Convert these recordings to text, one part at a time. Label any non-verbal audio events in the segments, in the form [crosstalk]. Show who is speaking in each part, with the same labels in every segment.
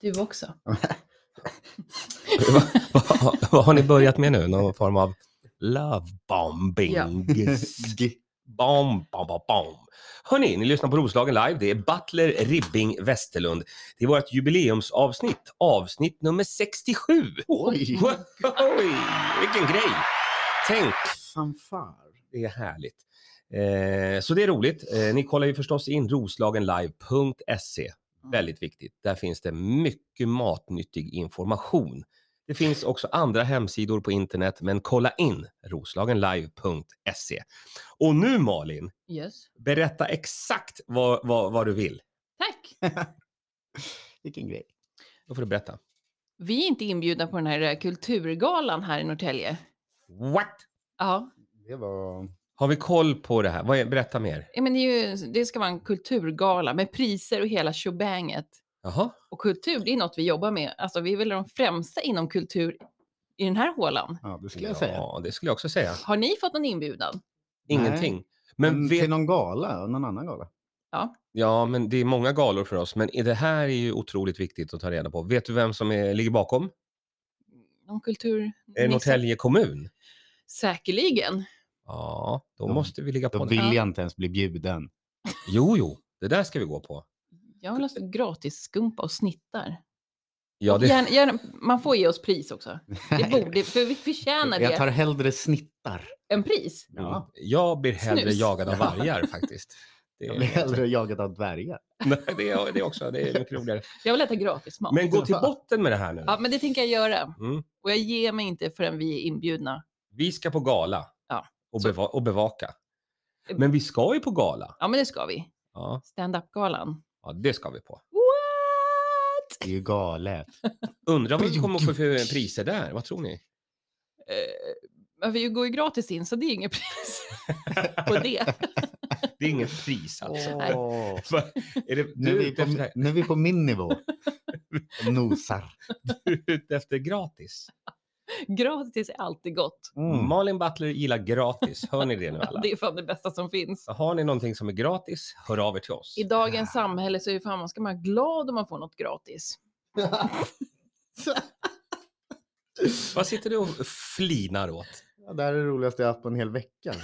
Speaker 1: Du också.
Speaker 2: Vad vad- vad har ni börjat med nu? Någon form av love bombing?
Speaker 1: Ja.
Speaker 3: G-
Speaker 2: [laughs] Bom, bom, bom, bom. Hörni, ni lyssnar på Roslagen live. Det är Butler Ribbing Westerlund. Det är vårt jubileumsavsnitt, avsnitt nummer 67.
Speaker 3: Oj!
Speaker 2: [laughs] Oj, vilken grej! Tänk,
Speaker 3: Fanfar.
Speaker 2: det är härligt. Eh, så det är roligt. Eh, ni kollar ju förstås in roslagenlive.se. Väldigt viktigt. Där finns det mycket matnyttig information. Det finns också andra hemsidor på internet, men kolla in roslagenlive.se. Och nu Malin,
Speaker 1: Yes.
Speaker 2: berätta exakt vad, vad, vad du vill.
Speaker 1: Tack!
Speaker 3: Vilken grej.
Speaker 2: Då får du berätta.
Speaker 1: Vi är inte inbjudna på den här eh, kulturgalan här i Norrtälje.
Speaker 2: What?
Speaker 1: Ja,
Speaker 3: Det var...
Speaker 2: Har vi koll på det här? Vad är, berätta mer.
Speaker 1: ja, men det, är ju, det ska vara en kulturgala med priser och hela tjobanget.
Speaker 2: Jaha.
Speaker 1: Och kultur, det är något vi jobbar med. Alltså, vi är väl de främsta inom kultur i den här hålan.
Speaker 3: Ja, det skulle
Speaker 2: Ja,
Speaker 3: jag säga.
Speaker 2: det skulle jag också säga.
Speaker 1: Har ni fått någon inbjudan?
Speaker 2: Ingenting. Men
Speaker 3: Men
Speaker 2: vet-
Speaker 3: Mm, Till någon gala, någon annan gala.
Speaker 2: Ja, men det är många galor för oss, men i det här är ju otroligt viktigt att ta reda på. Vet du vem som är, ligger bakom?
Speaker 1: Någon kultur?
Speaker 2: Är det Norrtälje kommun?
Speaker 1: Säkerligen.
Speaker 2: Ja, då
Speaker 3: De-
Speaker 2: måste vi ligga på
Speaker 3: Då
Speaker 2: det.
Speaker 3: vill jag inte ens bli bjuden.
Speaker 2: Jo, jo, det där ska vi gå på.
Speaker 1: Jag vill ha gratis skumpa och snittar.
Speaker 2: Ja, det,
Speaker 1: Gärna, gärna, man får ge oss pris
Speaker 2: [laughs]
Speaker 1: också. Det
Speaker 3: [laughs]
Speaker 1: borde, för vi förtjänar
Speaker 3: Jag
Speaker 1: det.
Speaker 3: tar hellre snittar.
Speaker 1: En pris.
Speaker 2: Mm.
Speaker 3: Ja.
Speaker 2: jag blir hellre
Speaker 1: Snus.
Speaker 2: jagad av vargar [laughs] faktiskt. Det
Speaker 3: Jag blir hellre jagad av dvärgar.
Speaker 2: Nej, det, är, det är också, det är mycket roligare.
Speaker 1: Jag vill äta gratis mat.
Speaker 2: Men gå [laughs] till botten med det här nu.
Speaker 1: Ja, men det tänker jag göra.
Speaker 2: Mm.
Speaker 1: Och jag ger mig inte förrän vi är inbjudna.
Speaker 2: Vi ska på gala
Speaker 1: Ja.
Speaker 2: och,
Speaker 1: Så-
Speaker 2: beva- och bevaka. Men vi ska ju på gala.
Speaker 1: Ja, men det ska vi.
Speaker 2: Ja,
Speaker 1: Stand-up-galan.
Speaker 2: ja det ska vi på.
Speaker 1: What?
Speaker 3: Det är ju galet.
Speaker 2: Undrar vad vi kommer att få för priser där? Vad tror ni?
Speaker 1: Eh, men vi går ju gratis in, så det är inget pris på det.
Speaker 2: [laughs] Det är inget pris alltså.
Speaker 1: Nej.
Speaker 3: Åh.
Speaker 2: [laughs] Vad- Är det,
Speaker 3: Nu,
Speaker 2: du
Speaker 3: är
Speaker 2: är
Speaker 3: vi
Speaker 2: ute efter,
Speaker 3: på, nu är vi på min nivå. Nosar.
Speaker 2: [laughs] du är ute efter gratis.
Speaker 1: Gratis är alltid gott.
Speaker 3: Mm.
Speaker 2: Malin Butler gillar gratis. Hör ni det nu alla?
Speaker 1: [laughs] Det är fan det bästa som finns.
Speaker 2: Så Har ni någonting som är gratis, hör av er till oss.
Speaker 1: I dagens samhälle så är ju fan, man ska man vara glad om man får något gratis.
Speaker 2: Vad sitter du och
Speaker 1: [laughs]
Speaker 2: flinar åt?
Speaker 3: [laughs] Ja, det här är det roligaste jag haft på en hel vecka.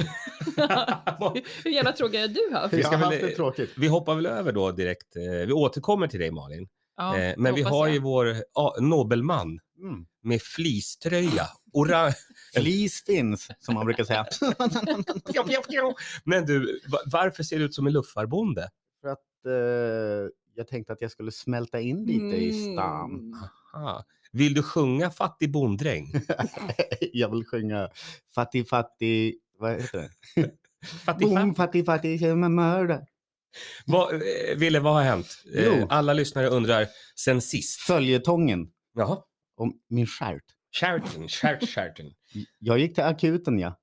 Speaker 1: Hur jävla tråkig är du här?
Speaker 2: Vi
Speaker 3: Jag
Speaker 2: ska
Speaker 3: har haft
Speaker 2: väl-
Speaker 3: det tråkigt.
Speaker 2: Vi hoppar väl över då direkt. eh, Vi återkommer till dig Malin.
Speaker 1: Ja,
Speaker 2: Eh,
Speaker 1: det
Speaker 2: Men vi
Speaker 1: hoppas
Speaker 2: har
Speaker 1: jag.
Speaker 2: ju vår ja, Nobelman
Speaker 3: Mm.
Speaker 2: med fleecetröja.
Speaker 1: [laughs]
Speaker 2: Orange.
Speaker 3: Flis finns, som man brukar säga. [laughs]
Speaker 2: Pjo, pjo, pjo. Men du, va- varför ser du ut som en luffarbonde?
Speaker 3: För att eh, jag tänkte att jag skulle smälta in lite i stan.
Speaker 1: Mm.
Speaker 2: Aha. Vill du sjunga Fattig bonddräng?
Speaker 3: [laughs] jag vill sjunga Fattig, fattig... Vad heter det?
Speaker 2: Fattig,
Speaker 3: Boom, fattig, fattig, känner mig mördare.
Speaker 2: Vad, eh, Ville, vad har hänt? Eh,
Speaker 3: Jo.
Speaker 2: Alla lyssnare undrar sen sist.
Speaker 3: Följetongen
Speaker 2: Jaha.
Speaker 3: om min stjärt.
Speaker 2: Sheraton, Sheraton, Sheraton.
Speaker 3: Jag gick till akuten, jag.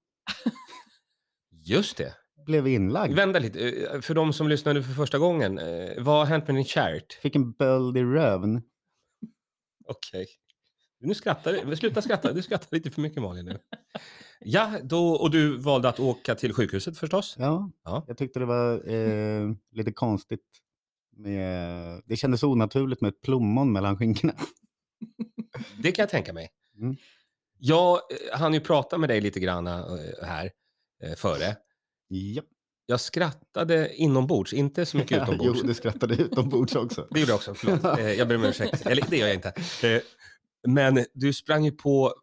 Speaker 2: [laughs] Just det.
Speaker 3: Blev inlagd.
Speaker 2: Vänta lite. eh, För de som lyssnade för första gången. eh, Vad har hänt med din kärt?
Speaker 3: Fick en böld i röven.
Speaker 2: Okej. Nu skrattar du. Sluta skratta. Du skrattar lite för mycket [laughs] Malin nu. Ja, då, och du valde att åka till sjukhuset förstås.
Speaker 3: Ja,
Speaker 2: Ja.
Speaker 3: jag tyckte det var eh, lite konstigt. Med, det kändes onaturligt med ett plommon mellan skinkorna.
Speaker 2: Det kan jag tänka mig.
Speaker 3: Mm.
Speaker 2: Jag eh, hann ju prata med dig lite grann eh, här eh, före.
Speaker 3: Japp.
Speaker 2: Jag skrattade inombords, inte så [laughs] mycket
Speaker 3: [laughs] Jo,
Speaker 2: utombords.
Speaker 3: du skrattade utombords också.
Speaker 2: Det gjorde jag också,
Speaker 3: [laughs]
Speaker 2: förlåt. Eh, jag ber om ursäkt. Eller det gör jag inte. Eh, men du sprang ju på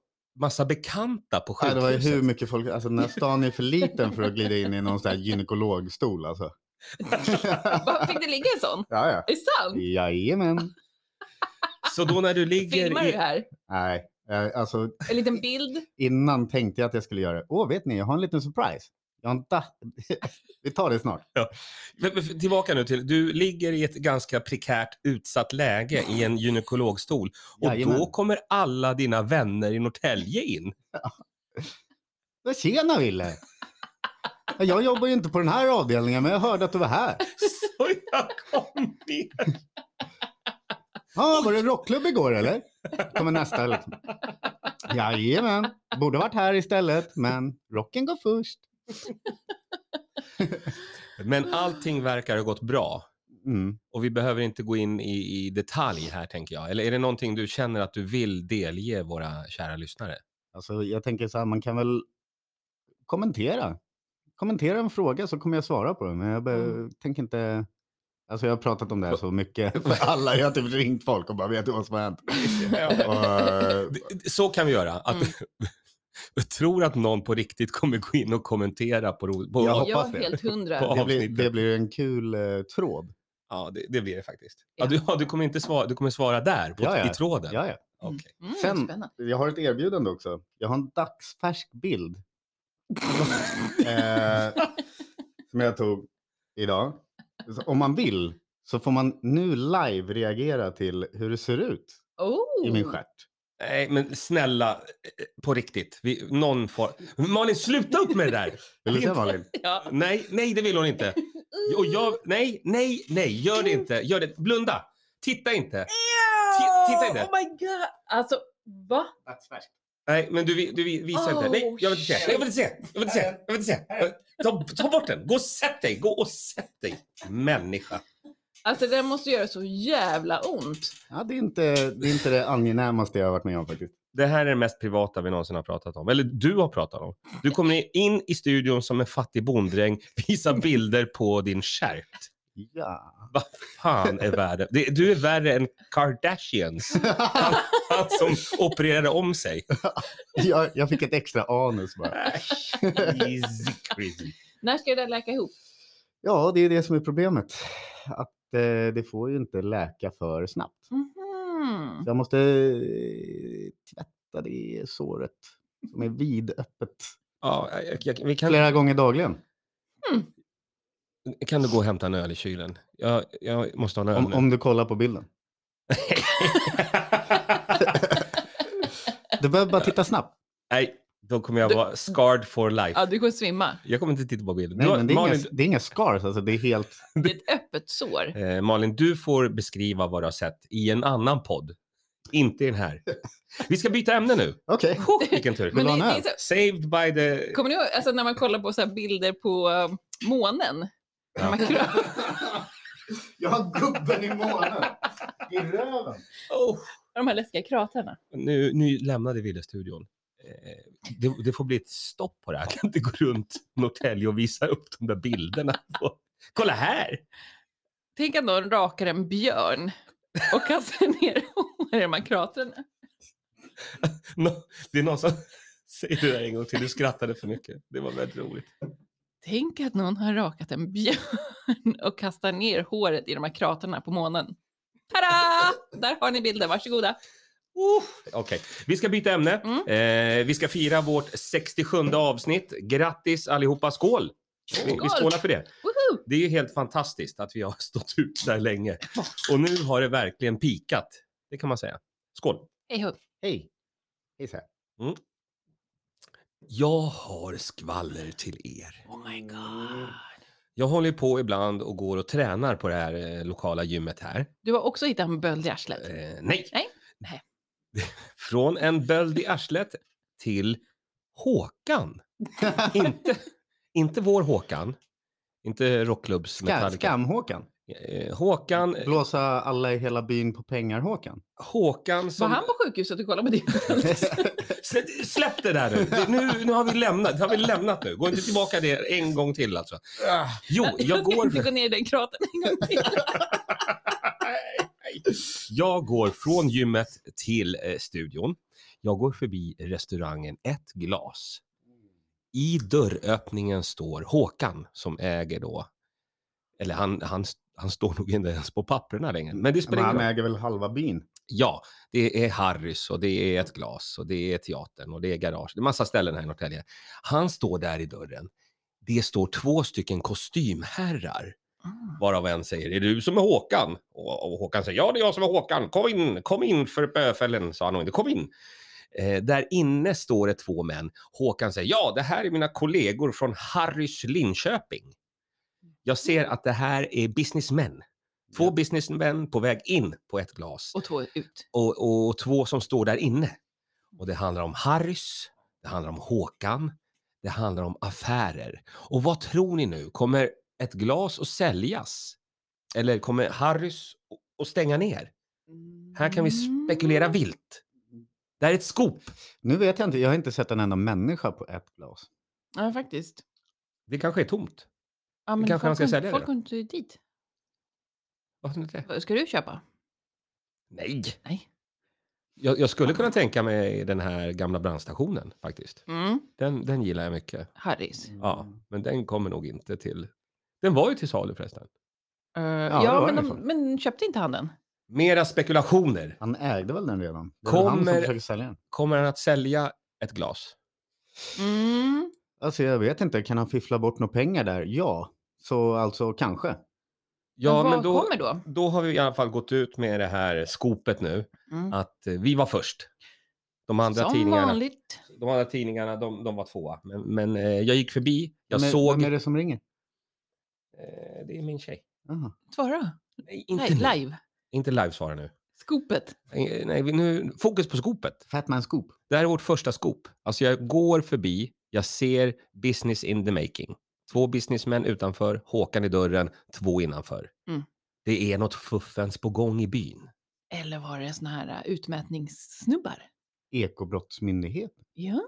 Speaker 2: massa bekanta på
Speaker 3: Nej,
Speaker 2: sjukhuset.
Speaker 3: det var ju hur mycket folk, alltså den här stan är för liten för att glida in i någon sån här gynekologstol alltså.
Speaker 1: Vad, Fick det ligga en sån?
Speaker 3: Ja, ja.
Speaker 1: Är det sant?
Speaker 3: Jajamän.
Speaker 2: Så
Speaker 3: [laughs]
Speaker 2: då när du ligger
Speaker 1: Filmar du det
Speaker 2: i...
Speaker 1: här?
Speaker 3: Nej, eh, alltså
Speaker 1: En liten bild?
Speaker 3: innan tänkte jag att jag skulle göra det. Åh, vet ni, jag har en liten surprise. Jag har en da- [laughs] Vi tar det snart.
Speaker 2: Men- men Tillbaka nu till, du ligger i ett ganska prekärt utsatt läge i en gynekologstol och
Speaker 3: Jajamän.
Speaker 2: då kommer alla dina vänner i Norrtälje in. [laughs]
Speaker 3: Men Tjena Ville! Ja, Jag jobbar ju inte på den här avdelningen, men jag hörde att du var här.
Speaker 2: Så jag kom ner.
Speaker 3: Ja, var det rockklubb igår eller? Kommer nästa liksom. Jajamän, borde varit här istället, men rocken går först.
Speaker 2: Men allting verkar ha gått bra.
Speaker 3: Mm.
Speaker 2: Och vi behöver inte gå in i, i detalj här tänker jag. Eller är det någonting du känner att du vill delge våra kära lyssnare?
Speaker 3: Alltså, jag tänker så här, man kan väl kommentera. Kommentera en fråga så kommer jag svara på den. Men jag be-
Speaker 1: Mm.
Speaker 3: tänker inte... Alltså jag har pratat om det här så
Speaker 2: [laughs]
Speaker 3: mycket för alla. Jag har typ ringt folk och bara, vet du vad som har hänt? Och, eh,
Speaker 2: Det- det- Så kan vi göra. Att,
Speaker 1: Mm.
Speaker 2: [laughs] jag tror att någon på riktigt kommer gå in och kommentera på, ro- på
Speaker 3: Jag
Speaker 2: ja.
Speaker 1: Jag
Speaker 3: hoppas
Speaker 1: är
Speaker 3: det.
Speaker 1: helt hundra.
Speaker 2: På-
Speaker 3: det, blir,
Speaker 2: avsnittet.
Speaker 3: det blir en kul eh, tråd.
Speaker 2: det, det blir det faktiskt. Ja.
Speaker 1: Ja.
Speaker 2: du, ja, du kommer inte svara, du kommer svara där på,
Speaker 3: Ja, ja.
Speaker 2: i tråden?
Speaker 3: Ja, ja.
Speaker 1: Mm.
Speaker 2: Okej.
Speaker 1: Mm,
Speaker 3: Sen-
Speaker 1: spännande.
Speaker 3: Jag har ett erbjudande också. Jag har en dagsfärsk
Speaker 2: [laughs]
Speaker 3: bild. eh, som jag tog idag. Så om man vill så får man nu live reagera till hur det ser ut
Speaker 1: Oh.
Speaker 3: i min stjärt.
Speaker 2: Nej, men snälla, eh, på riktigt. Vi, någon får... Malin, sluta upp med
Speaker 3: [laughs]
Speaker 2: det där!
Speaker 3: Vill du se
Speaker 2: Inte-
Speaker 3: Malin?
Speaker 1: Ja. Mm.
Speaker 2: Nej, nej, det vill hon inte. Och jag, nej, nej, nej, gör det inte. Gör det. Blunda. Titta inte. Ti- titta inte.
Speaker 1: Oh my god. Alltså, va?
Speaker 3: Dagsfärsk.
Speaker 2: Nej, men du, vi- du vi- visar inte. Nej,
Speaker 1: Oh,
Speaker 2: jag vill inte se. Nej, Jag vill inte se. Jag vill inte se. Jag vill inte se. Ta, ta bort den. Gå och sätt dig. Gå och sätt dig. Människa.
Speaker 1: Alltså den måste göra så jävla ont.
Speaker 3: Ja, det är, inte, det är inte det angenämaste jag har varit med om faktiskt.
Speaker 2: Det här är det mest privata vi någonsin har pratat om. Eller du har pratat om. Du kommer in i studion som en fattig bonddräng, [laughs] visar bilder på din stjärt.
Speaker 3: Ja.
Speaker 2: Vad fan är värre? Det- Du är värre än Kardashians.
Speaker 3: [laughs]
Speaker 2: Han, han som opererade om sig.
Speaker 3: jag, jag fick ett extra anus bara.
Speaker 2: Easy crazy.
Speaker 1: När ska det där läka ihop?
Speaker 3: Ja, det är det som är problemet. Att eh, det får ju inte läka för snabbt.
Speaker 1: Mhm.
Speaker 3: Jag måste eh, tvätta det såret som är vidöppet
Speaker 2: Ja, jag, jag, vi kan,
Speaker 3: flera gånger dagligen.
Speaker 2: kan du gå och hämta en öl i kylen? Jag, jag måste ha en öl
Speaker 3: Om,
Speaker 2: nu.
Speaker 3: om du kollar på bilden. Du behöver bara titta snabbt.
Speaker 2: [laughs] Nej, då kommer jag
Speaker 1: Du-
Speaker 2: vara scarred for life.
Speaker 1: Ja, du kommer svimma.
Speaker 2: Jag kommer inte titta på bilden.
Speaker 3: Nej,
Speaker 2: Du, har-
Speaker 3: men det är,
Speaker 2: Malin,
Speaker 3: inga, det är inga scars, alltså det är helt...
Speaker 1: Det är ett öppet sår.
Speaker 2: eh, Malin, du får beskriva vad du har sett i en annan podd. Inte i den här. Vi ska byta ämne nu.
Speaker 3: Okej.
Speaker 2: [laughs] Oh, vilken tur.
Speaker 1: Men
Speaker 3: du
Speaker 1: det,
Speaker 3: ha en
Speaker 1: det är
Speaker 3: öl?
Speaker 1: så,
Speaker 2: Saved by the...
Speaker 1: kommer ni ihåg alltså, när man kollar på så här bilder på eh, månen?
Speaker 2: Ja.
Speaker 1: När man kram,
Speaker 3: Jag har gubben i månen. I röven.
Speaker 2: Oh.
Speaker 1: [laughs] de här läskiga kratrarna.
Speaker 2: Nu, nu lämnade vi studion. Eh, Det, det får bli ett stopp på det här. Jag kan inte gå runt Norrtälje och visa upp de där bilderna. på- Kolla här!
Speaker 1: Tänk att någon rakar en björn och kastar ner [laughs] hår i de här kratrarna.
Speaker 2: Nå- Det är någon som säger det där en gång till. Du skrattade för mycket. Det var väldigt roligt.
Speaker 1: Tänk att någon har rakat en björn och kastar ner håret i de här kratrarna på månen. Tada! Där har ni bilden, varsågoda.
Speaker 2: Okej, vi ska byta ämne.
Speaker 1: Mm.
Speaker 2: Eh, vi ska fira vårt 67 avsnitt. Grattis allihopa, skål! Vi, vi
Speaker 1: Skål!
Speaker 2: skålar för det.
Speaker 1: Woho!
Speaker 2: Det är ju helt fantastiskt att vi har [laughs] stått ut så här länge. Och nu har det verkligen pikat. Det kan man säga. Skål!
Speaker 1: Hej ho.
Speaker 3: Hej. Hej så här.
Speaker 2: Jag har skvaller till er.
Speaker 1: Oh my god.
Speaker 2: Jag håller ju på ibland och går och tränar på det här eh, lokala gymmet här.
Speaker 1: Du har också hittat en böld i arslet.
Speaker 2: Eh, nej.
Speaker 1: Nej. Nej.
Speaker 2: [laughs] Från en böld i arslet till Håkan. inte, inte vår Håkan. Inte rockklubbs
Speaker 3: Ska,
Speaker 2: Metallica.
Speaker 3: Skam-Håkan.
Speaker 2: Eh, Håkan,
Speaker 3: Blåsa alla i hela byn på pengar-Håkan.
Speaker 2: Håkan som...
Speaker 1: Var han på sjukhuset och kollade på din
Speaker 2: Slä- Släpp det där nu. Det- nu! Nu har vi lämnat. Det har vi lämnat nu. Gå inte tillbaka det en gång till alltså. Jo,
Speaker 1: [laughs]
Speaker 2: jag går...
Speaker 1: Du går ner i den kraten en gång till.
Speaker 2: Jag går från gymmet till eh, studion. Jag går förbi restaurangen Ett glas. I dörröppningen står Håkan som äger då, eller han, han, han står nog inte ens på papperna längre. Men det
Speaker 3: Men
Speaker 2: spelar ingen
Speaker 3: han
Speaker 2: roll.
Speaker 3: äger väl halva byn.
Speaker 2: Ja, det är Harrys och det är Ett glas och det är teatern och det är garage. Det är massa ställen här i Norrtälje. Han står där i dörren. Det står två stycken kostymherrar
Speaker 1: Ah.
Speaker 2: Varav en säger, är det du som är Håkan? Och, och Håkan säger, ja det är jag som är Håkan. Kom in, kom in för böfällen, sa han nog inte. Kom in. Eh, där inne står det två män. Håkan säger, ja det här är mina kollegor från Harrys Linköping. Jag ser att det här är businessmän. Två
Speaker 3: Ja.
Speaker 2: businessmän på väg in på ett glas
Speaker 1: Och två ut.
Speaker 2: och, och, två som står där inne. Och det handlar om Harrys, det handlar om Håkan, det handlar om affärer. Och vad tror ni nu, kommer ett glas att säljas? eller kommer Harrys att stänga ner? Här kan vi spekulera
Speaker 1: Mm.
Speaker 2: vilt. Det här är ett scoop.
Speaker 3: Nu vet jag inte, jag har inte sett en enda människa på ett glas.
Speaker 1: Ja, faktiskt.
Speaker 2: Det kanske är tomt.
Speaker 1: Ja, men
Speaker 2: kanske
Speaker 1: folk
Speaker 2: man ska
Speaker 1: går inte-
Speaker 2: sälja det
Speaker 1: Folk
Speaker 2: då?
Speaker 1: går inte dit.
Speaker 2: Varför inte?
Speaker 1: Vad Ska du köpa?
Speaker 2: Nej,
Speaker 1: Nej.
Speaker 2: jag, jag skulle kunna tänka mig den här gamla brandstationen faktiskt.
Speaker 1: Mm.
Speaker 2: Den, den gillar jag mycket.
Speaker 1: Harrys.
Speaker 2: Mm. Ja, men den kommer nog inte till... Den var ju till salu förresten.
Speaker 1: Eh,
Speaker 3: Ja,
Speaker 1: ja,
Speaker 3: det var
Speaker 1: men,
Speaker 3: det
Speaker 1: de,
Speaker 3: fan.
Speaker 1: men köpte inte han den?
Speaker 2: Mera spekulationer.
Speaker 3: Han ägde väl den redan? Det är väl han som
Speaker 2: Kommer-
Speaker 3: försöker sälja den.
Speaker 2: Kommer han att sälja ett glas?
Speaker 1: Mm.
Speaker 3: Alltså jag vet inte, kan han fiffla bort några pengar där? Ja, så alltså kanske.
Speaker 1: men
Speaker 2: Ja,
Speaker 1: vad
Speaker 2: men då,
Speaker 1: kommer då?
Speaker 2: då har vi i alla fall gått ut med det här skopet nu.
Speaker 1: Mm.
Speaker 2: Att eh, vi var först. De andra
Speaker 1: Som
Speaker 2: tidningarna,
Speaker 1: vanligt.
Speaker 2: de andra tidningarna de, de var tvåa. Men, men eh, jag gick förbi, jag
Speaker 3: Men-
Speaker 2: såg...
Speaker 3: Vem är det som ringer?
Speaker 2: Eh, det är min tjej.
Speaker 3: Jaha.
Speaker 1: Svara.
Speaker 2: Nej,
Speaker 1: Nej,
Speaker 2: inte nu.
Speaker 1: live.
Speaker 2: Inte live svarar nu.
Speaker 1: Skopet.
Speaker 2: Eh, Nej, vi- nu, fokus på skopet.
Speaker 3: Fatman Scoop.
Speaker 2: Det här är vårt första skop. Alltså jag går förbi, jag ser business in the making. Två businessmän utanför, Håkan i dörren, två innanför.
Speaker 1: Mm.
Speaker 2: Det är något fuffens på gång i byn.
Speaker 1: Eller var det såna här äh, utmätningssnubbar?
Speaker 3: Ekobrottsmyndigheten.
Speaker 1: Ja.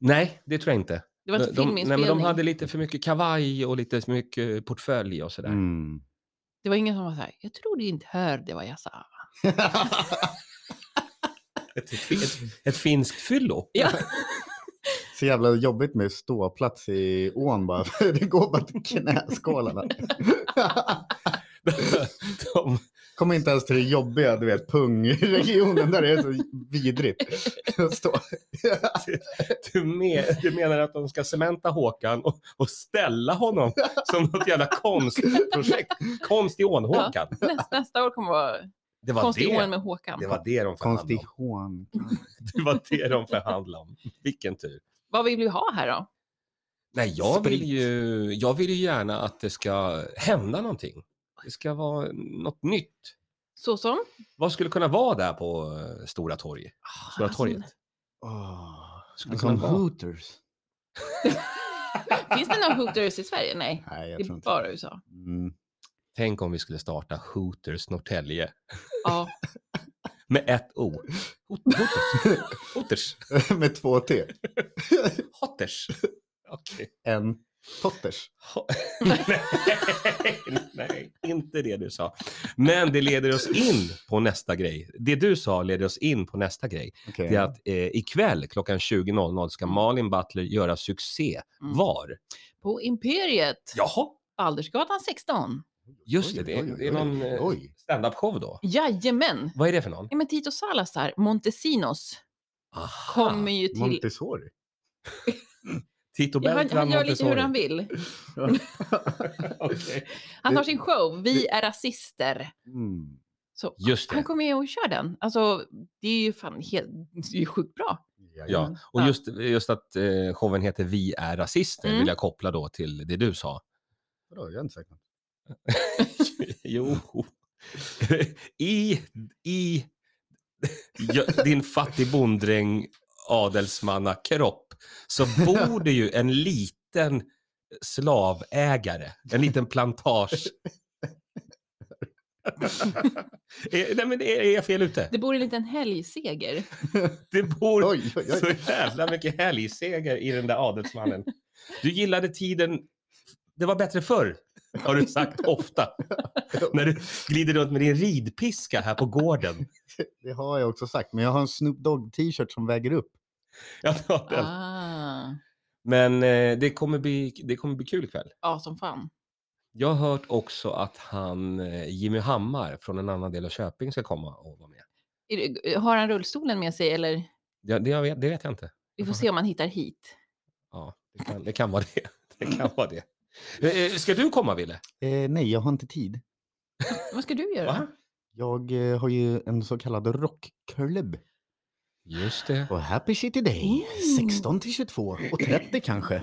Speaker 2: Nej, det tror jag inte.
Speaker 1: Det var inte
Speaker 2: de, nej,
Speaker 1: filminspelning.
Speaker 2: men de hade lite för mycket kavaj och lite för mycket portfölj och sådär.
Speaker 3: Mm.
Speaker 1: Det var ingen som var så här, jag tror du inte hörde vad jag
Speaker 2: [laughs]
Speaker 1: sa.
Speaker 2: Ett, ett, ett finskt fyllo.
Speaker 1: [laughs] Ja.
Speaker 3: Så jävla jobbigt med ståplats i ån bara. [laughs] Det går bara till
Speaker 2: [laughs]
Speaker 3: knäskålarna.
Speaker 2: [laughs] de,
Speaker 3: Kommer inte ens till det jobbiga, du vet, pungregionen där det är så vidrigt. att stå.
Speaker 2: du, men, du menar att de ska cementa Håkan och, och ställa honom som något jävla
Speaker 1: [laughs]
Speaker 2: konstprojekt? Konst i ån-Håkan.
Speaker 1: Nästa, nästa år kommer vara
Speaker 2: Det var
Speaker 1: konstigen
Speaker 2: det,
Speaker 1: med Håkan.
Speaker 2: det var det de förhandlade om.
Speaker 3: Konstihån.
Speaker 2: [laughs] Det var det de förhandlade om. Vilken tur.
Speaker 1: Vad vill vi ha här då?
Speaker 2: Nej, jag vill,
Speaker 3: Sprit.
Speaker 2: ju, jag vill ju gärna att det ska hända någonting. Det ska vara något nytt.
Speaker 1: Såsom?
Speaker 2: Vad skulle kunna vara där på eh, Stora torget?
Speaker 1: Ah,
Speaker 2: Stora
Speaker 1: alltså,
Speaker 2: torget?
Speaker 3: Oh,
Speaker 2: det
Speaker 3: som
Speaker 2: kunna vara?
Speaker 3: hooters.
Speaker 1: alltså, Finns det några hooters i Sverige?
Speaker 2: [laughs]
Speaker 1: Nej,
Speaker 3: Nej,
Speaker 1: det
Speaker 3: jag tror
Speaker 1: är
Speaker 3: inte.
Speaker 1: bara USA.
Speaker 3: Mm. [laughs]
Speaker 2: Tänk om vi skulle starta Hooters Norrtälje
Speaker 1: Ja,
Speaker 2: med ett O. [laughs] Hot- Hooters. Hooters.
Speaker 3: med två T.
Speaker 2: Hotters. [laughs] Okej.
Speaker 3: En Potters.
Speaker 2: [laughs] Ho- nej, nej, inte det du sa. Men det leder oss in på nästa grej. Det du sa leder oss in på nästa grej.
Speaker 3: Okej.
Speaker 2: Det är att eh, ikväll klockan 20.00 ska
Speaker 3: Mm.
Speaker 2: Malin Butler göra succé.
Speaker 1: Mm.
Speaker 2: Var?
Speaker 1: på Imperiet.
Speaker 2: Jaha,
Speaker 1: Baldersgatan 16.
Speaker 2: just det.
Speaker 3: Oj,
Speaker 2: Det är,
Speaker 3: oj,
Speaker 2: det är
Speaker 3: oj,
Speaker 2: någon eh,
Speaker 3: oj.
Speaker 2: standup-show då.
Speaker 1: Jajamän!
Speaker 2: Vad är det för någon?
Speaker 1: Ja, men Tito Salazar, Montesinos,
Speaker 2: Aha.
Speaker 1: kommer ju till...
Speaker 2: [laughs]
Speaker 3: Montessori.
Speaker 2: Tito
Speaker 1: Ja, han,
Speaker 2: Beltran
Speaker 1: han gör lite hur
Speaker 2: Montessori.
Speaker 1: han vill.
Speaker 2: Okej.
Speaker 1: Han har
Speaker 3: Det-
Speaker 1: sin show, Vi
Speaker 3: det-
Speaker 1: är rasister.
Speaker 3: Mm.
Speaker 1: Så
Speaker 2: Just det.
Speaker 1: han kommer ju och kör den. Alltså, det är ju fan helt, det är ju sjukt bra. Mm.
Speaker 2: Ja, och
Speaker 1: Ja.
Speaker 2: just, just att eh, showen heter Vi är rasister
Speaker 1: Mm.
Speaker 2: vill jag koppla då till det du sa.
Speaker 3: Vadå, jag har inte sagt något.
Speaker 2: jo. [laughs] I, i ja, din fattig bonddräng adelsmannakropp så bor det ju en liten slavägare, en liten plantage. Eh, Nej men det är är jag fel ute?
Speaker 1: Det bor en liten helgseger.
Speaker 2: Det bor
Speaker 3: Oj, oj, oj.
Speaker 2: så jävla mycket helgseger i den där adelsmannen. Du gillade tiden, det var bättre förr, har du sagt ofta. När du glider runt med din ridpiska här på gården.
Speaker 3: Det har jag också sagt, men jag har en Snoop Dogg t-shirt som väger upp.
Speaker 2: Jag tar den.
Speaker 1: Ah.
Speaker 2: Men eh, det kommer, bli, det kommer bli kul ikväll.
Speaker 1: Ja, som fan.
Speaker 2: Jag har hört också att han, eh, Jimmy Hammar från en annan del av Köping ska komma och vara med.
Speaker 1: Är det- Har han rullstolen med sig eller?
Speaker 2: Ja, det, jag vet, det vet jag inte.
Speaker 1: Vi får se om han hittar hit.
Speaker 2: Ja, det, kan, det kan vara det. [laughs] det, kan vara det. Eh, eh, Ska du komma, Ville?
Speaker 3: Eh, nej, jag har inte tid.
Speaker 1: Vad ska du göra?
Speaker 2: Va?
Speaker 3: Jag eh, har ju en så kallad rockklubb
Speaker 2: Just det.
Speaker 3: på Happy City Day. 16 till 22 och 30 kanske,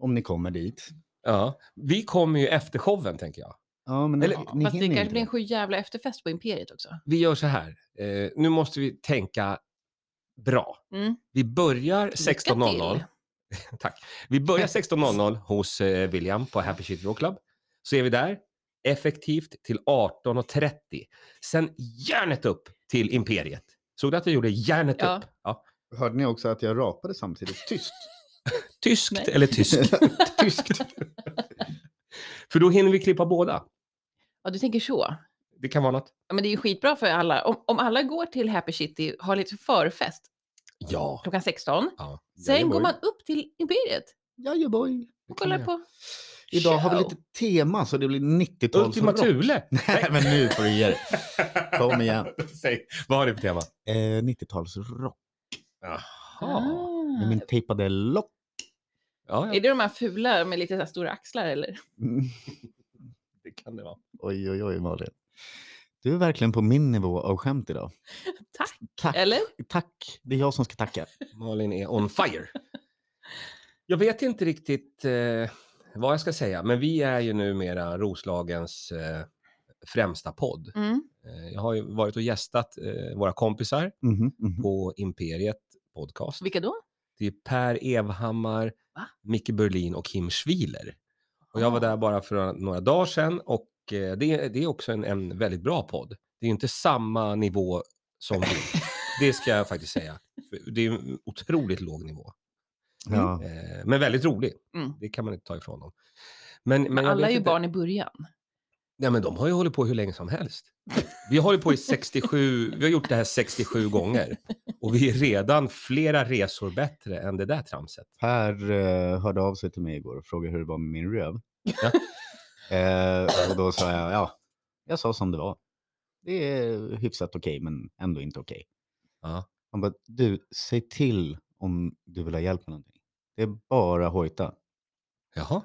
Speaker 3: om ni kommer dit.
Speaker 2: Ja. Vi kommer ju efter showen, tänker jag.
Speaker 3: Ja, men
Speaker 2: Eller-
Speaker 1: Ja,
Speaker 3: ni
Speaker 1: fast det
Speaker 3: hinner
Speaker 1: kanske
Speaker 3: inte
Speaker 1: blir en
Speaker 3: det.
Speaker 1: sju jävla efterfest på Imperiet också.
Speaker 2: Vi gör så här. Eh, nu måste vi tänka bra.
Speaker 1: Mm.
Speaker 2: Vi börjar
Speaker 1: Lycka
Speaker 2: 16.00.
Speaker 1: till. [laughs]
Speaker 2: Tack. Vi börjar 16.00 hos eh, William på Happy City Rock Club. Så är vi där. effektivt till 18.30. Sen järnet upp till Imperiet. Såg du att jag gjorde järnet
Speaker 1: Ja.
Speaker 2: upp? Ja.
Speaker 3: Hörde ni också att jag rapade samtidigt? Tyst.
Speaker 2: Tyskt
Speaker 1: Nej. [laughs]
Speaker 2: eller tyskt?
Speaker 3: [laughs] Tyskt.
Speaker 2: För då hinner vi klippa båda.
Speaker 1: Ja, du tänker så.
Speaker 2: Det kan vara något.
Speaker 1: Ja, men det är ju skitbra för alla. Om, om alla går till Happy City, har lite förfest
Speaker 2: Ja.
Speaker 1: klockan 16.
Speaker 2: ja.
Speaker 1: Sen går
Speaker 3: Jajamoj.
Speaker 1: man upp till Imperiet
Speaker 3: Jajaboj.
Speaker 1: och kollar
Speaker 2: jag.
Speaker 1: på
Speaker 3: Idag har vi
Speaker 1: show.
Speaker 3: lite tema så det blir 90-talsrock.
Speaker 2: Ultima Thule.
Speaker 3: [laughs] Nej, men nu får du ge dig. Kom igen.
Speaker 2: [laughs] Säg, vad har du för tema?
Speaker 3: Eh, 90-talsrock
Speaker 2: Jaha.
Speaker 1: Ah.
Speaker 3: med min tejpade lock. [laughs]
Speaker 2: Ja,
Speaker 1: Är
Speaker 2: ja.
Speaker 1: det de här fula med lite så här stora axlar eller?
Speaker 3: Mm.
Speaker 2: Det kan det vara.
Speaker 3: Oj, oj, oj, Malin. Du är verkligen på min nivå av skämt idag.
Speaker 1: Tack,
Speaker 3: Tack.
Speaker 1: eller?
Speaker 3: Tack. Det är jag som ska tacka.
Speaker 2: Malin är on fire. Jag vet inte riktigt eh, vad jag ska säga, men vi är ju numera Roslagens eh, främsta podd.
Speaker 1: Mm.
Speaker 2: Eh, jag har ju varit och gästat eh, våra kompisar
Speaker 3: Mhm, mhm.
Speaker 2: på Imperiet Podcast.
Speaker 1: Vilka då?
Speaker 2: Det är Per Evhammar,
Speaker 1: Va?
Speaker 2: Micke Berlin och Kim Schwiler. Och jag var
Speaker 1: Ah.
Speaker 2: där bara för några dagar sedan och eh, det, är- det är också en, en väldigt bra podd. Det är inte samma nivå
Speaker 1: [laughs]
Speaker 2: som vi. Det ska jag faktiskt säga. För Det är ju en otroligt låg nivå.
Speaker 3: Ja.
Speaker 2: Eh, Men väldigt rolig.
Speaker 1: Mm.
Speaker 2: Det kan man inte ta ifrån dem. Men, men jag
Speaker 1: Alla
Speaker 2: vet
Speaker 1: är ju
Speaker 2: inte-
Speaker 1: barn i början.
Speaker 2: Nej, men de har ju hållit på hur länge som helst. Vi har hållit på i 67, vi har gjort det här 67 gånger. Och vi är redan flera resor bättre än det där tramset.
Speaker 3: Per eh, hörde av sig till mig igår och frågade hur det var med min röv.
Speaker 2: Ja.
Speaker 3: [laughs] Eh, och då sa jag, ja, jag sa som det var. Det är hyfsat okej, men ändå inte okej.
Speaker 2: Ja.
Speaker 3: Han bara, du, säg till om du vill ha hjälp med någonting. Det är bara hojta.
Speaker 2: Jaha.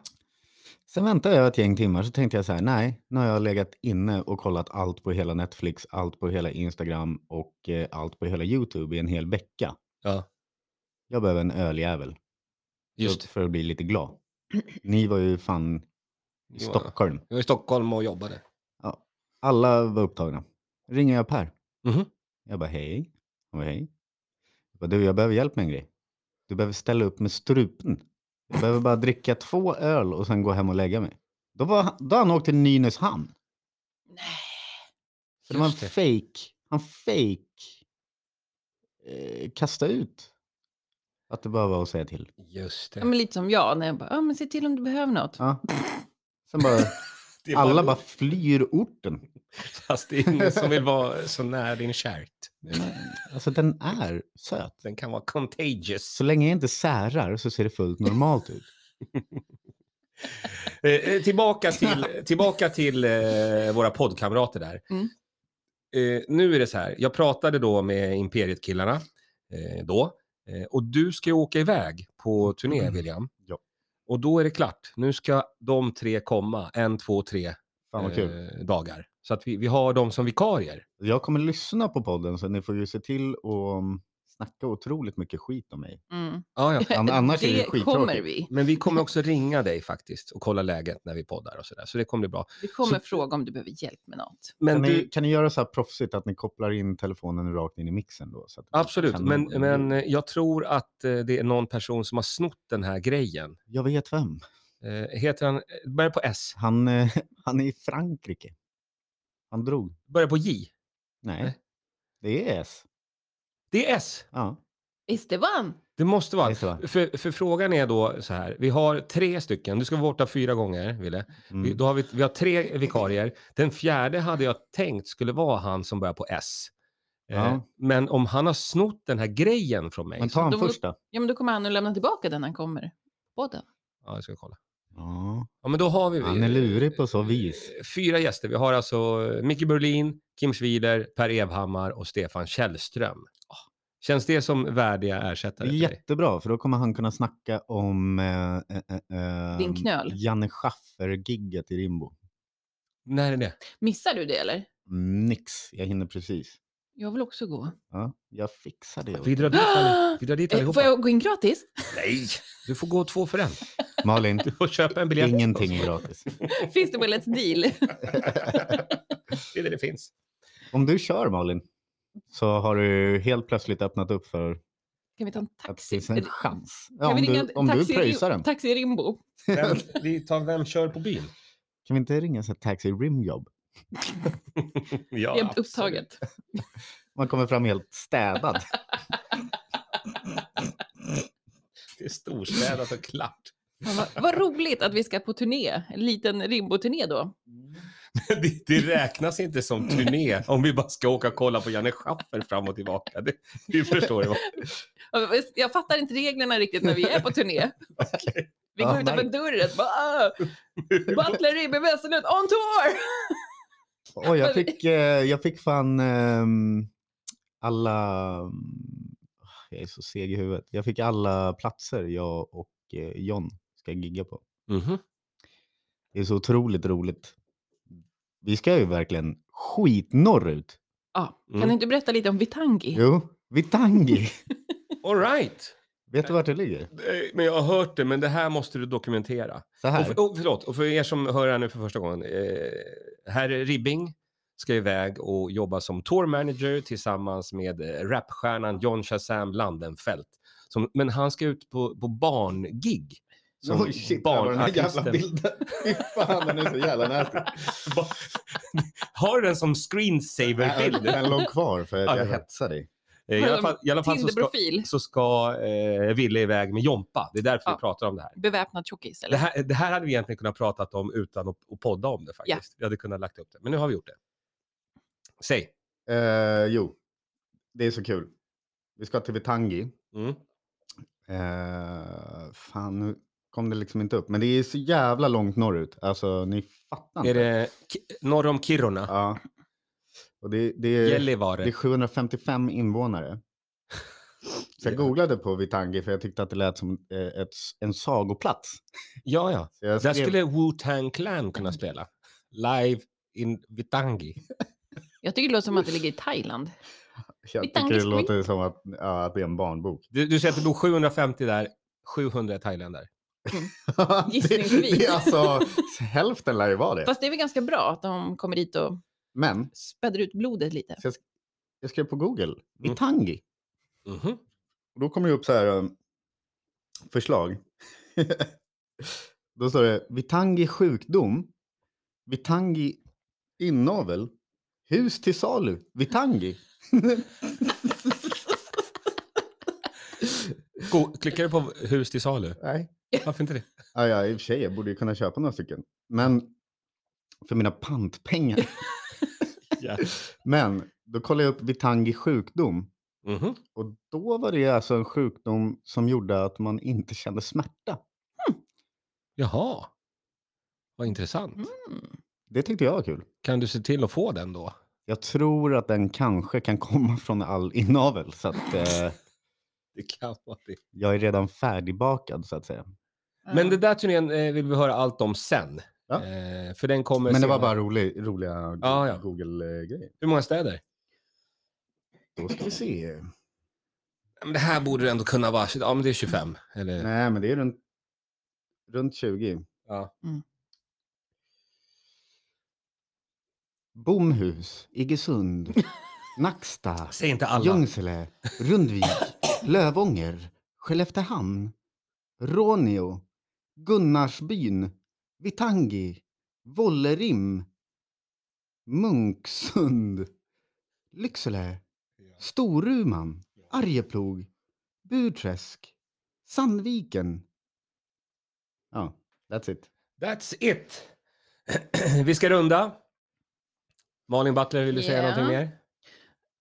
Speaker 3: Sen väntade jag ett gäng timmar så tänkte jag så här, nej, nu har jag legat inne och kollat allt på hela Netflix, allt på hela Instagram och eh, allt på hela YouTube i en hel vecka.
Speaker 2: Ja,
Speaker 3: Jag behöver en öljävel
Speaker 2: just
Speaker 3: för, för att bli lite
Speaker 2: [clears throat]
Speaker 3: glad. Ni var ju fan i
Speaker 2: det.
Speaker 3: Stockholm.
Speaker 2: Jag var i Stockholm och jobbade.
Speaker 3: Alla var upptagna. Ringer jag Per.
Speaker 2: Mhm.
Speaker 3: Jag bara hej. Han bara hej. Jag bara, du, jag behöver hjälp med en grej. Du behöver ställa upp med strupen. Jag behöver bara dricka två öl och sen gå hem och lägga mig. Då, var, han- då han åkt till Nynäshamn.
Speaker 1: Nej.
Speaker 3: För det var en
Speaker 2: Just det.
Speaker 3: fake. Han fake eh, kasta ut. Att det bara var att säga till.
Speaker 2: Just
Speaker 1: Ja, men lite som jag när jag bara, ja men se till om du behöver något.
Speaker 3: Ja. [laughs] Sen bara,
Speaker 2: [laughs] Det är
Speaker 3: alla bara flyr orten.
Speaker 2: [laughs] Fast det är ingen som vill [laughs] vara så nära din kärt.
Speaker 3: Alltså den är söt.
Speaker 2: Den kan vara contagious.
Speaker 3: Så länge jag inte särar så ser det fullt normalt ut.
Speaker 2: Eh, Eh, tillbaka till, tillbaka till eh, våra poddkamrater där.
Speaker 1: Mm.
Speaker 2: Eh, nu är det så här, jag pratade då med Imperiet-killarna eh, då. Eh, och du ska ju åka iväg på turné,
Speaker 3: Mm.
Speaker 2: William.
Speaker 3: Ja.
Speaker 2: Och då är det klart. Nu ska de tre komma, en, två, tre
Speaker 3: Fan vad kul.
Speaker 2: eh, dagar. Så att vi, vi har dem som vikarier.
Speaker 3: Jag kommer lyssna på podden så ni får ju se till och um, snacka otroligt mycket skit om
Speaker 1: [laughs]
Speaker 3: mig.
Speaker 1: Mm.
Speaker 2: Ja, ja.
Speaker 3: An- annars är det
Speaker 1: det
Speaker 3: skittråkigt.
Speaker 1: kommer vi.
Speaker 2: Men vi kommer också ringa dig faktiskt och kolla läget när vi poddar och sådär. Så det kommer bli bra.
Speaker 1: Vi kommer fråga om du behöver hjälp med något.
Speaker 2: Men
Speaker 3: Kan,
Speaker 2: du,
Speaker 3: ni, kan ni göra så här proffsigt att ni kopplar in telefonen rakt in i mixen då? Så att det blir
Speaker 2: Absolut, men,
Speaker 3: kanon.
Speaker 2: men eh, jag tror att eh, det är någon person som har snott den här grejen.
Speaker 3: Jag vet vem.
Speaker 2: Eh, Heter han, eh, börjar på S,
Speaker 3: Han, eh, [laughs] han är i Frankrike. Han drog.
Speaker 2: börjar på J.
Speaker 3: Nej,
Speaker 2: Nej.
Speaker 3: det är S.
Speaker 2: Det är S,
Speaker 3: Ja,
Speaker 1: Esteban!
Speaker 2: det måste vara.
Speaker 3: det är så. Mm.
Speaker 2: För, för frågan är då så här, vi har tre stycken, du ska vara borta fyra gånger, Ville. Vi,
Speaker 3: Mm.
Speaker 2: då har vi, vi har tre vikarier. Den fjärde hade jag tänkt skulle vara han som börjar på S. Eh,
Speaker 3: Ja.
Speaker 2: Men om han har snott den här grejen från mig.
Speaker 3: Men
Speaker 2: så-
Speaker 3: ta han
Speaker 1: de-
Speaker 3: första.
Speaker 1: Ja men då kommer han att lämna tillbaka den han kommer. Båda.
Speaker 2: Ja, jag ska kolla.
Speaker 3: Ja.
Speaker 2: Ja, men då har vi...
Speaker 3: Han är lurig på så
Speaker 2: eh,
Speaker 3: vis.
Speaker 2: fyra gäster. Vi har alltså eh, Micke Berlin, Kim Schwiler, Per Evhammar och Stefan Källström. Känns det som värdiga
Speaker 3: Ah. Det
Speaker 2: ersättare
Speaker 3: är
Speaker 2: för dig?
Speaker 3: jättebra, för då kommer han kunna snacka om eh, eh, eh,
Speaker 1: Din
Speaker 3: eh,
Speaker 1: knöl.
Speaker 3: Janne Schaffer-gigget i Rimbo.
Speaker 2: När är det?
Speaker 1: Missar du det eller?
Speaker 3: Nix, jag hinner precis.
Speaker 1: Jag vill också gå.
Speaker 3: Ja, jag fixar det. åt
Speaker 2: Vi
Speaker 3: dig.
Speaker 2: drar dit,
Speaker 3: [gasps]
Speaker 2: alli- vi drar dit
Speaker 1: Eh,
Speaker 2: allihopa.
Speaker 1: Får jag gå in gratis? [laughs]
Speaker 2: Nej! Du får gå två för en. [laughs]
Speaker 3: Malin,
Speaker 2: Du får köpa en biljett.
Speaker 3: ingenting är gratis.
Speaker 1: Finns det väl ett
Speaker 3: [laughs]
Speaker 1: deal?
Speaker 2: Det är det det finns.
Speaker 3: Om du kör Malin, så har du helt plötsligt öppnat upp för
Speaker 1: Kan vi ta en
Speaker 3: att det
Speaker 1: taxi?
Speaker 3: finns en
Speaker 1: Eller-
Speaker 3: chans.
Speaker 1: kan
Speaker 3: Ja, om
Speaker 1: vi ringa
Speaker 3: du, om du
Speaker 1: taxi,
Speaker 3: pröjsar den.
Speaker 1: Taxi Rimbo.
Speaker 2: Vem, vi tar Vem kör på byn?
Speaker 3: Kan vi inte ringa så här taxi rimjobb?
Speaker 2: Ja,
Speaker 1: Jämt
Speaker 2: absolut.
Speaker 1: upptaget.
Speaker 3: Man kommer fram helt
Speaker 1: [laughs]
Speaker 3: städad.
Speaker 2: Det är storstädat och klart.
Speaker 1: Fan, vad, vad roligt att vi ska på turné, en liten rimbo-turné då.
Speaker 2: Det, det räknas inte som turné om vi bara ska åka och kolla på Janne Schaffer fram och tillbaka. Det, du förstår ju. vad-
Speaker 1: Jag fattar inte reglerna riktigt när vi är på
Speaker 2: [laughs]
Speaker 1: turné. Vi
Speaker 3: Ja,
Speaker 1: går utanför
Speaker 3: märk-
Speaker 1: dörren bara "Ah, Butler, Ribbe, Westerlund, on tour!
Speaker 3: Oj, jag
Speaker 1: Men-
Speaker 3: fick, eh, jag fick fan ehm, alla... mm, Jag är så seg i huvudet. Jag fick alla platser jag och eh, John ska gigga på. Mm-hmm.
Speaker 2: Mhm.
Speaker 3: Det är så otroligt roligt. Vi ska ju verkligen skitnorrut.
Speaker 1: Ja, kan
Speaker 2: Mm.
Speaker 1: du inte berätta lite om Vitangi?
Speaker 3: Jo, [laughs] Vitangi.
Speaker 2: All right.
Speaker 3: Vet du vart det ligger?
Speaker 2: Eh, Men jag har hört det, men det här måste du dokumentera.
Speaker 3: Så
Speaker 2: Och
Speaker 3: här.
Speaker 2: för, och förlåt, och för er som hör här nu för första gången. Eh, herr Ribbing ska iväg och jobba som tour manager tillsammans med eh, rapstjärnan John Shazam Landenfelt. Som, men han ska ut på, på barngig. Som
Speaker 3: Oj, shit, där var den här jävla
Speaker 2: barnartisten.
Speaker 3: bilden. [laughs] Fy fan, den är så jävla [laughs] nasty.
Speaker 2: Ba- Har du den som
Speaker 3: Den-
Speaker 2: screensaver-bild?
Speaker 3: Den låg kvar för
Speaker 2: Ja,
Speaker 3: att jag
Speaker 2: det var-
Speaker 3: hetsade dig.
Speaker 2: Eh, I alla fall, i alla fall så ska,
Speaker 1: Tinderprofil,
Speaker 2: så ska eh, Ville iväg med Jompa. Det är därför vi
Speaker 1: Ja.
Speaker 2: pratar om det här.
Speaker 1: beväpnad tjockis
Speaker 2: Det
Speaker 1: eller?
Speaker 2: här, det här hade vi egentligen kunnat prata om utan att, att podda om det faktiskt. Vi hade kunnat lagt upp det, men nu har vi gjort det. Säg.
Speaker 3: Eh, jo, det är så kul. Vi ska till Vitangi.
Speaker 2: Mm.
Speaker 3: Eh, fan, nu kom det liksom inte upp. Men det är så jävla långt norrut. Alltså, ni fattar inte.
Speaker 2: Är det Ki- norr om Kiruna?
Speaker 3: Ja. Och det, det, är, det är
Speaker 2: Gällivare?
Speaker 3: 755 invånare. Så jag
Speaker 2: Ja.
Speaker 3: googlade på Vitangi för jag tyckte att det lät som eh, ett, en sagoplats.
Speaker 2: Ja, ja.
Speaker 3: Så jag
Speaker 2: Där
Speaker 3: skrev-
Speaker 2: skulle Wu-Tang Clan kunna spela. Live in Vitangi.
Speaker 1: Jag tycker det låter som att det ligger i Thailand.
Speaker 3: Jag
Speaker 1: Vitangi
Speaker 3: tycker det
Speaker 1: Squid.
Speaker 3: låter som att, ja, att det är
Speaker 1: [laughs]
Speaker 3: en barnbok.
Speaker 2: Du, du säger att det bor 750 där, 700 thailändare.
Speaker 3: det,
Speaker 1: Gissningsvis.
Speaker 3: det är alltså, hälften lär ju vara det.
Speaker 1: Fast det är väl ganska bra att de kommer dit och
Speaker 3: Men
Speaker 1: späder ut blodet lite.
Speaker 3: så jag, sk- jag skrev på
Speaker 2: Mm.
Speaker 3: Google, Vitangi.
Speaker 2: Mhm.
Speaker 3: Och då kommer det upp så här um, förslag. [laughs] då står det Vitangi sjukdom, Vitangi inavel, hus till salu, Vitangi.
Speaker 2: Go- Klickar du på hus till salu?
Speaker 3: Nej.
Speaker 2: Varför inte det?
Speaker 3: Ja, ja, i och för sig, jag borde ju kunna köpa några stycken. Men för mina
Speaker 2: [laughs]
Speaker 3: pantpengar.
Speaker 2: Ja.
Speaker 3: Men då kollade jag upp Vitangi sjukdom.
Speaker 2: Mhm.
Speaker 3: Och då var det alltså en sjukdom som gjorde att man inte kände smärta.
Speaker 2: Jaha. Vad intressant.
Speaker 1: Mm.
Speaker 3: Det tyckte jag var kul.
Speaker 2: Kan du se till att få den då?
Speaker 3: Jag tror att den kanske kan komma från all inavel. Så att, eh,
Speaker 2: Det kan vara det.
Speaker 3: jag är redan färdigbakad så att säga.
Speaker 2: Men den där turnén eh, vill vi höra allt om sen.
Speaker 3: Ja.
Speaker 2: Eh, för den kommer
Speaker 3: Men det var
Speaker 2: senare.
Speaker 3: bara rolig, roliga
Speaker 2: Ja, ja.
Speaker 3: Google-grejer.
Speaker 2: Hur många städer?
Speaker 3: Då
Speaker 2: [laughs]
Speaker 3: ska vi se.
Speaker 2: Ja, Men det här borde ändå kunna vara... Ja, men det är 25. Eller...
Speaker 3: Nej, men det är runt, runt 20.
Speaker 2: Ja.
Speaker 1: Mm.
Speaker 3: Bomhus, Iggesund,
Speaker 2: [laughs]
Speaker 3: Nacksta,
Speaker 2: Säg inte alla.
Speaker 3: Ljungsele, Rundvik,
Speaker 2: [laughs]
Speaker 3: Lövånger, Skelleftehamn, Råneå, Gunnarsbyn, Vitangi, Vollerim, Munksund, Lycksele, Storuman, Arjeplog, Burträsk, Sandviken. Ja, that's it.
Speaker 2: That's it. [clears throat] vi ska runda. Malin Butler, vill du säga
Speaker 1: Ja.
Speaker 2: någonting mer?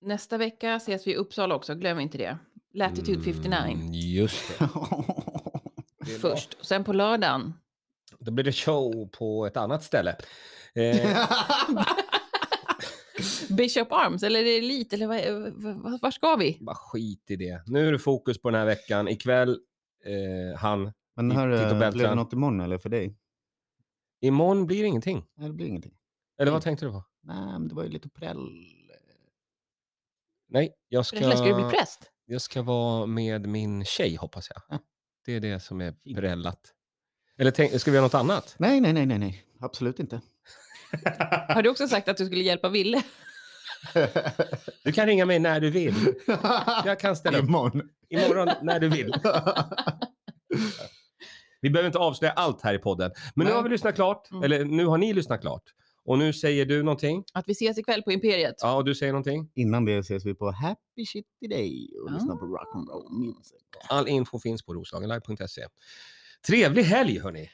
Speaker 1: Nästa vecka ses vi i Uppsala också, glöm inte det. Latitude 59
Speaker 2: Mm,
Speaker 3: [laughs]
Speaker 2: just det. det är bra.
Speaker 1: först. Och sen på lördagen.
Speaker 2: Då blir det show på ett annat ställe. Eh, [laughs]
Speaker 1: Bishop Arms, eller är det Elite, eller vad- vad- vad- var ska vi?
Speaker 2: bara skit i det. Nu är det fokus på den här veckan. Ikväll, eh, han.
Speaker 3: [laughs] Men
Speaker 2: Titt- Titt och
Speaker 3: hörru, blev det
Speaker 2: Beltran.
Speaker 3: något imorgon eller för dig?
Speaker 2: Imorgon blir det ingenting.
Speaker 3: Nej, det blir ingenting.
Speaker 2: Eller vad tänkte du på?
Speaker 3: Nej, men det var ju lite eh. präll.
Speaker 2: Nej, jag
Speaker 1: För Eller ska du bli
Speaker 2: ska,
Speaker 1: präst?
Speaker 2: jag ska vara med min tjej hoppas jag.
Speaker 3: Ja.
Speaker 2: Det är det som är
Speaker 3: Fint.
Speaker 2: brällat. Eller tänk, ska vi göra något annat?
Speaker 3: Nej, nej, nej, nej, nej. Absolut
Speaker 1: [laughs]
Speaker 3: inte.
Speaker 1: Har du också sagt att du skulle hjälpa Ville?
Speaker 2: Du kan ringa mig när du vill. [laughs] Jag kan ställa upp
Speaker 3: Imorgon.
Speaker 2: imorgon när du vill. Vi behöver inte avslöja allt här i podden. Men nu
Speaker 3: Nej.
Speaker 2: har vi lyssnat klart,
Speaker 1: Mm.
Speaker 2: eller nu har ni lyssnat klart. Och nu säger du någonting.
Speaker 1: Att vi ses ikväll på Imperiet.
Speaker 2: Ja, och du säger någonting.
Speaker 3: Innan det ses vi på Happy Shit Today och lyssnar
Speaker 1: Ah.
Speaker 3: på rock'n'roll music.
Speaker 2: All info finns på roslagenlive.se. Trevlig helg hörni!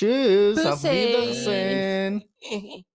Speaker 3: Tschüss, auf
Speaker 1: Puss, hej.
Speaker 3: Wiedersehen!
Speaker 1: Hehe.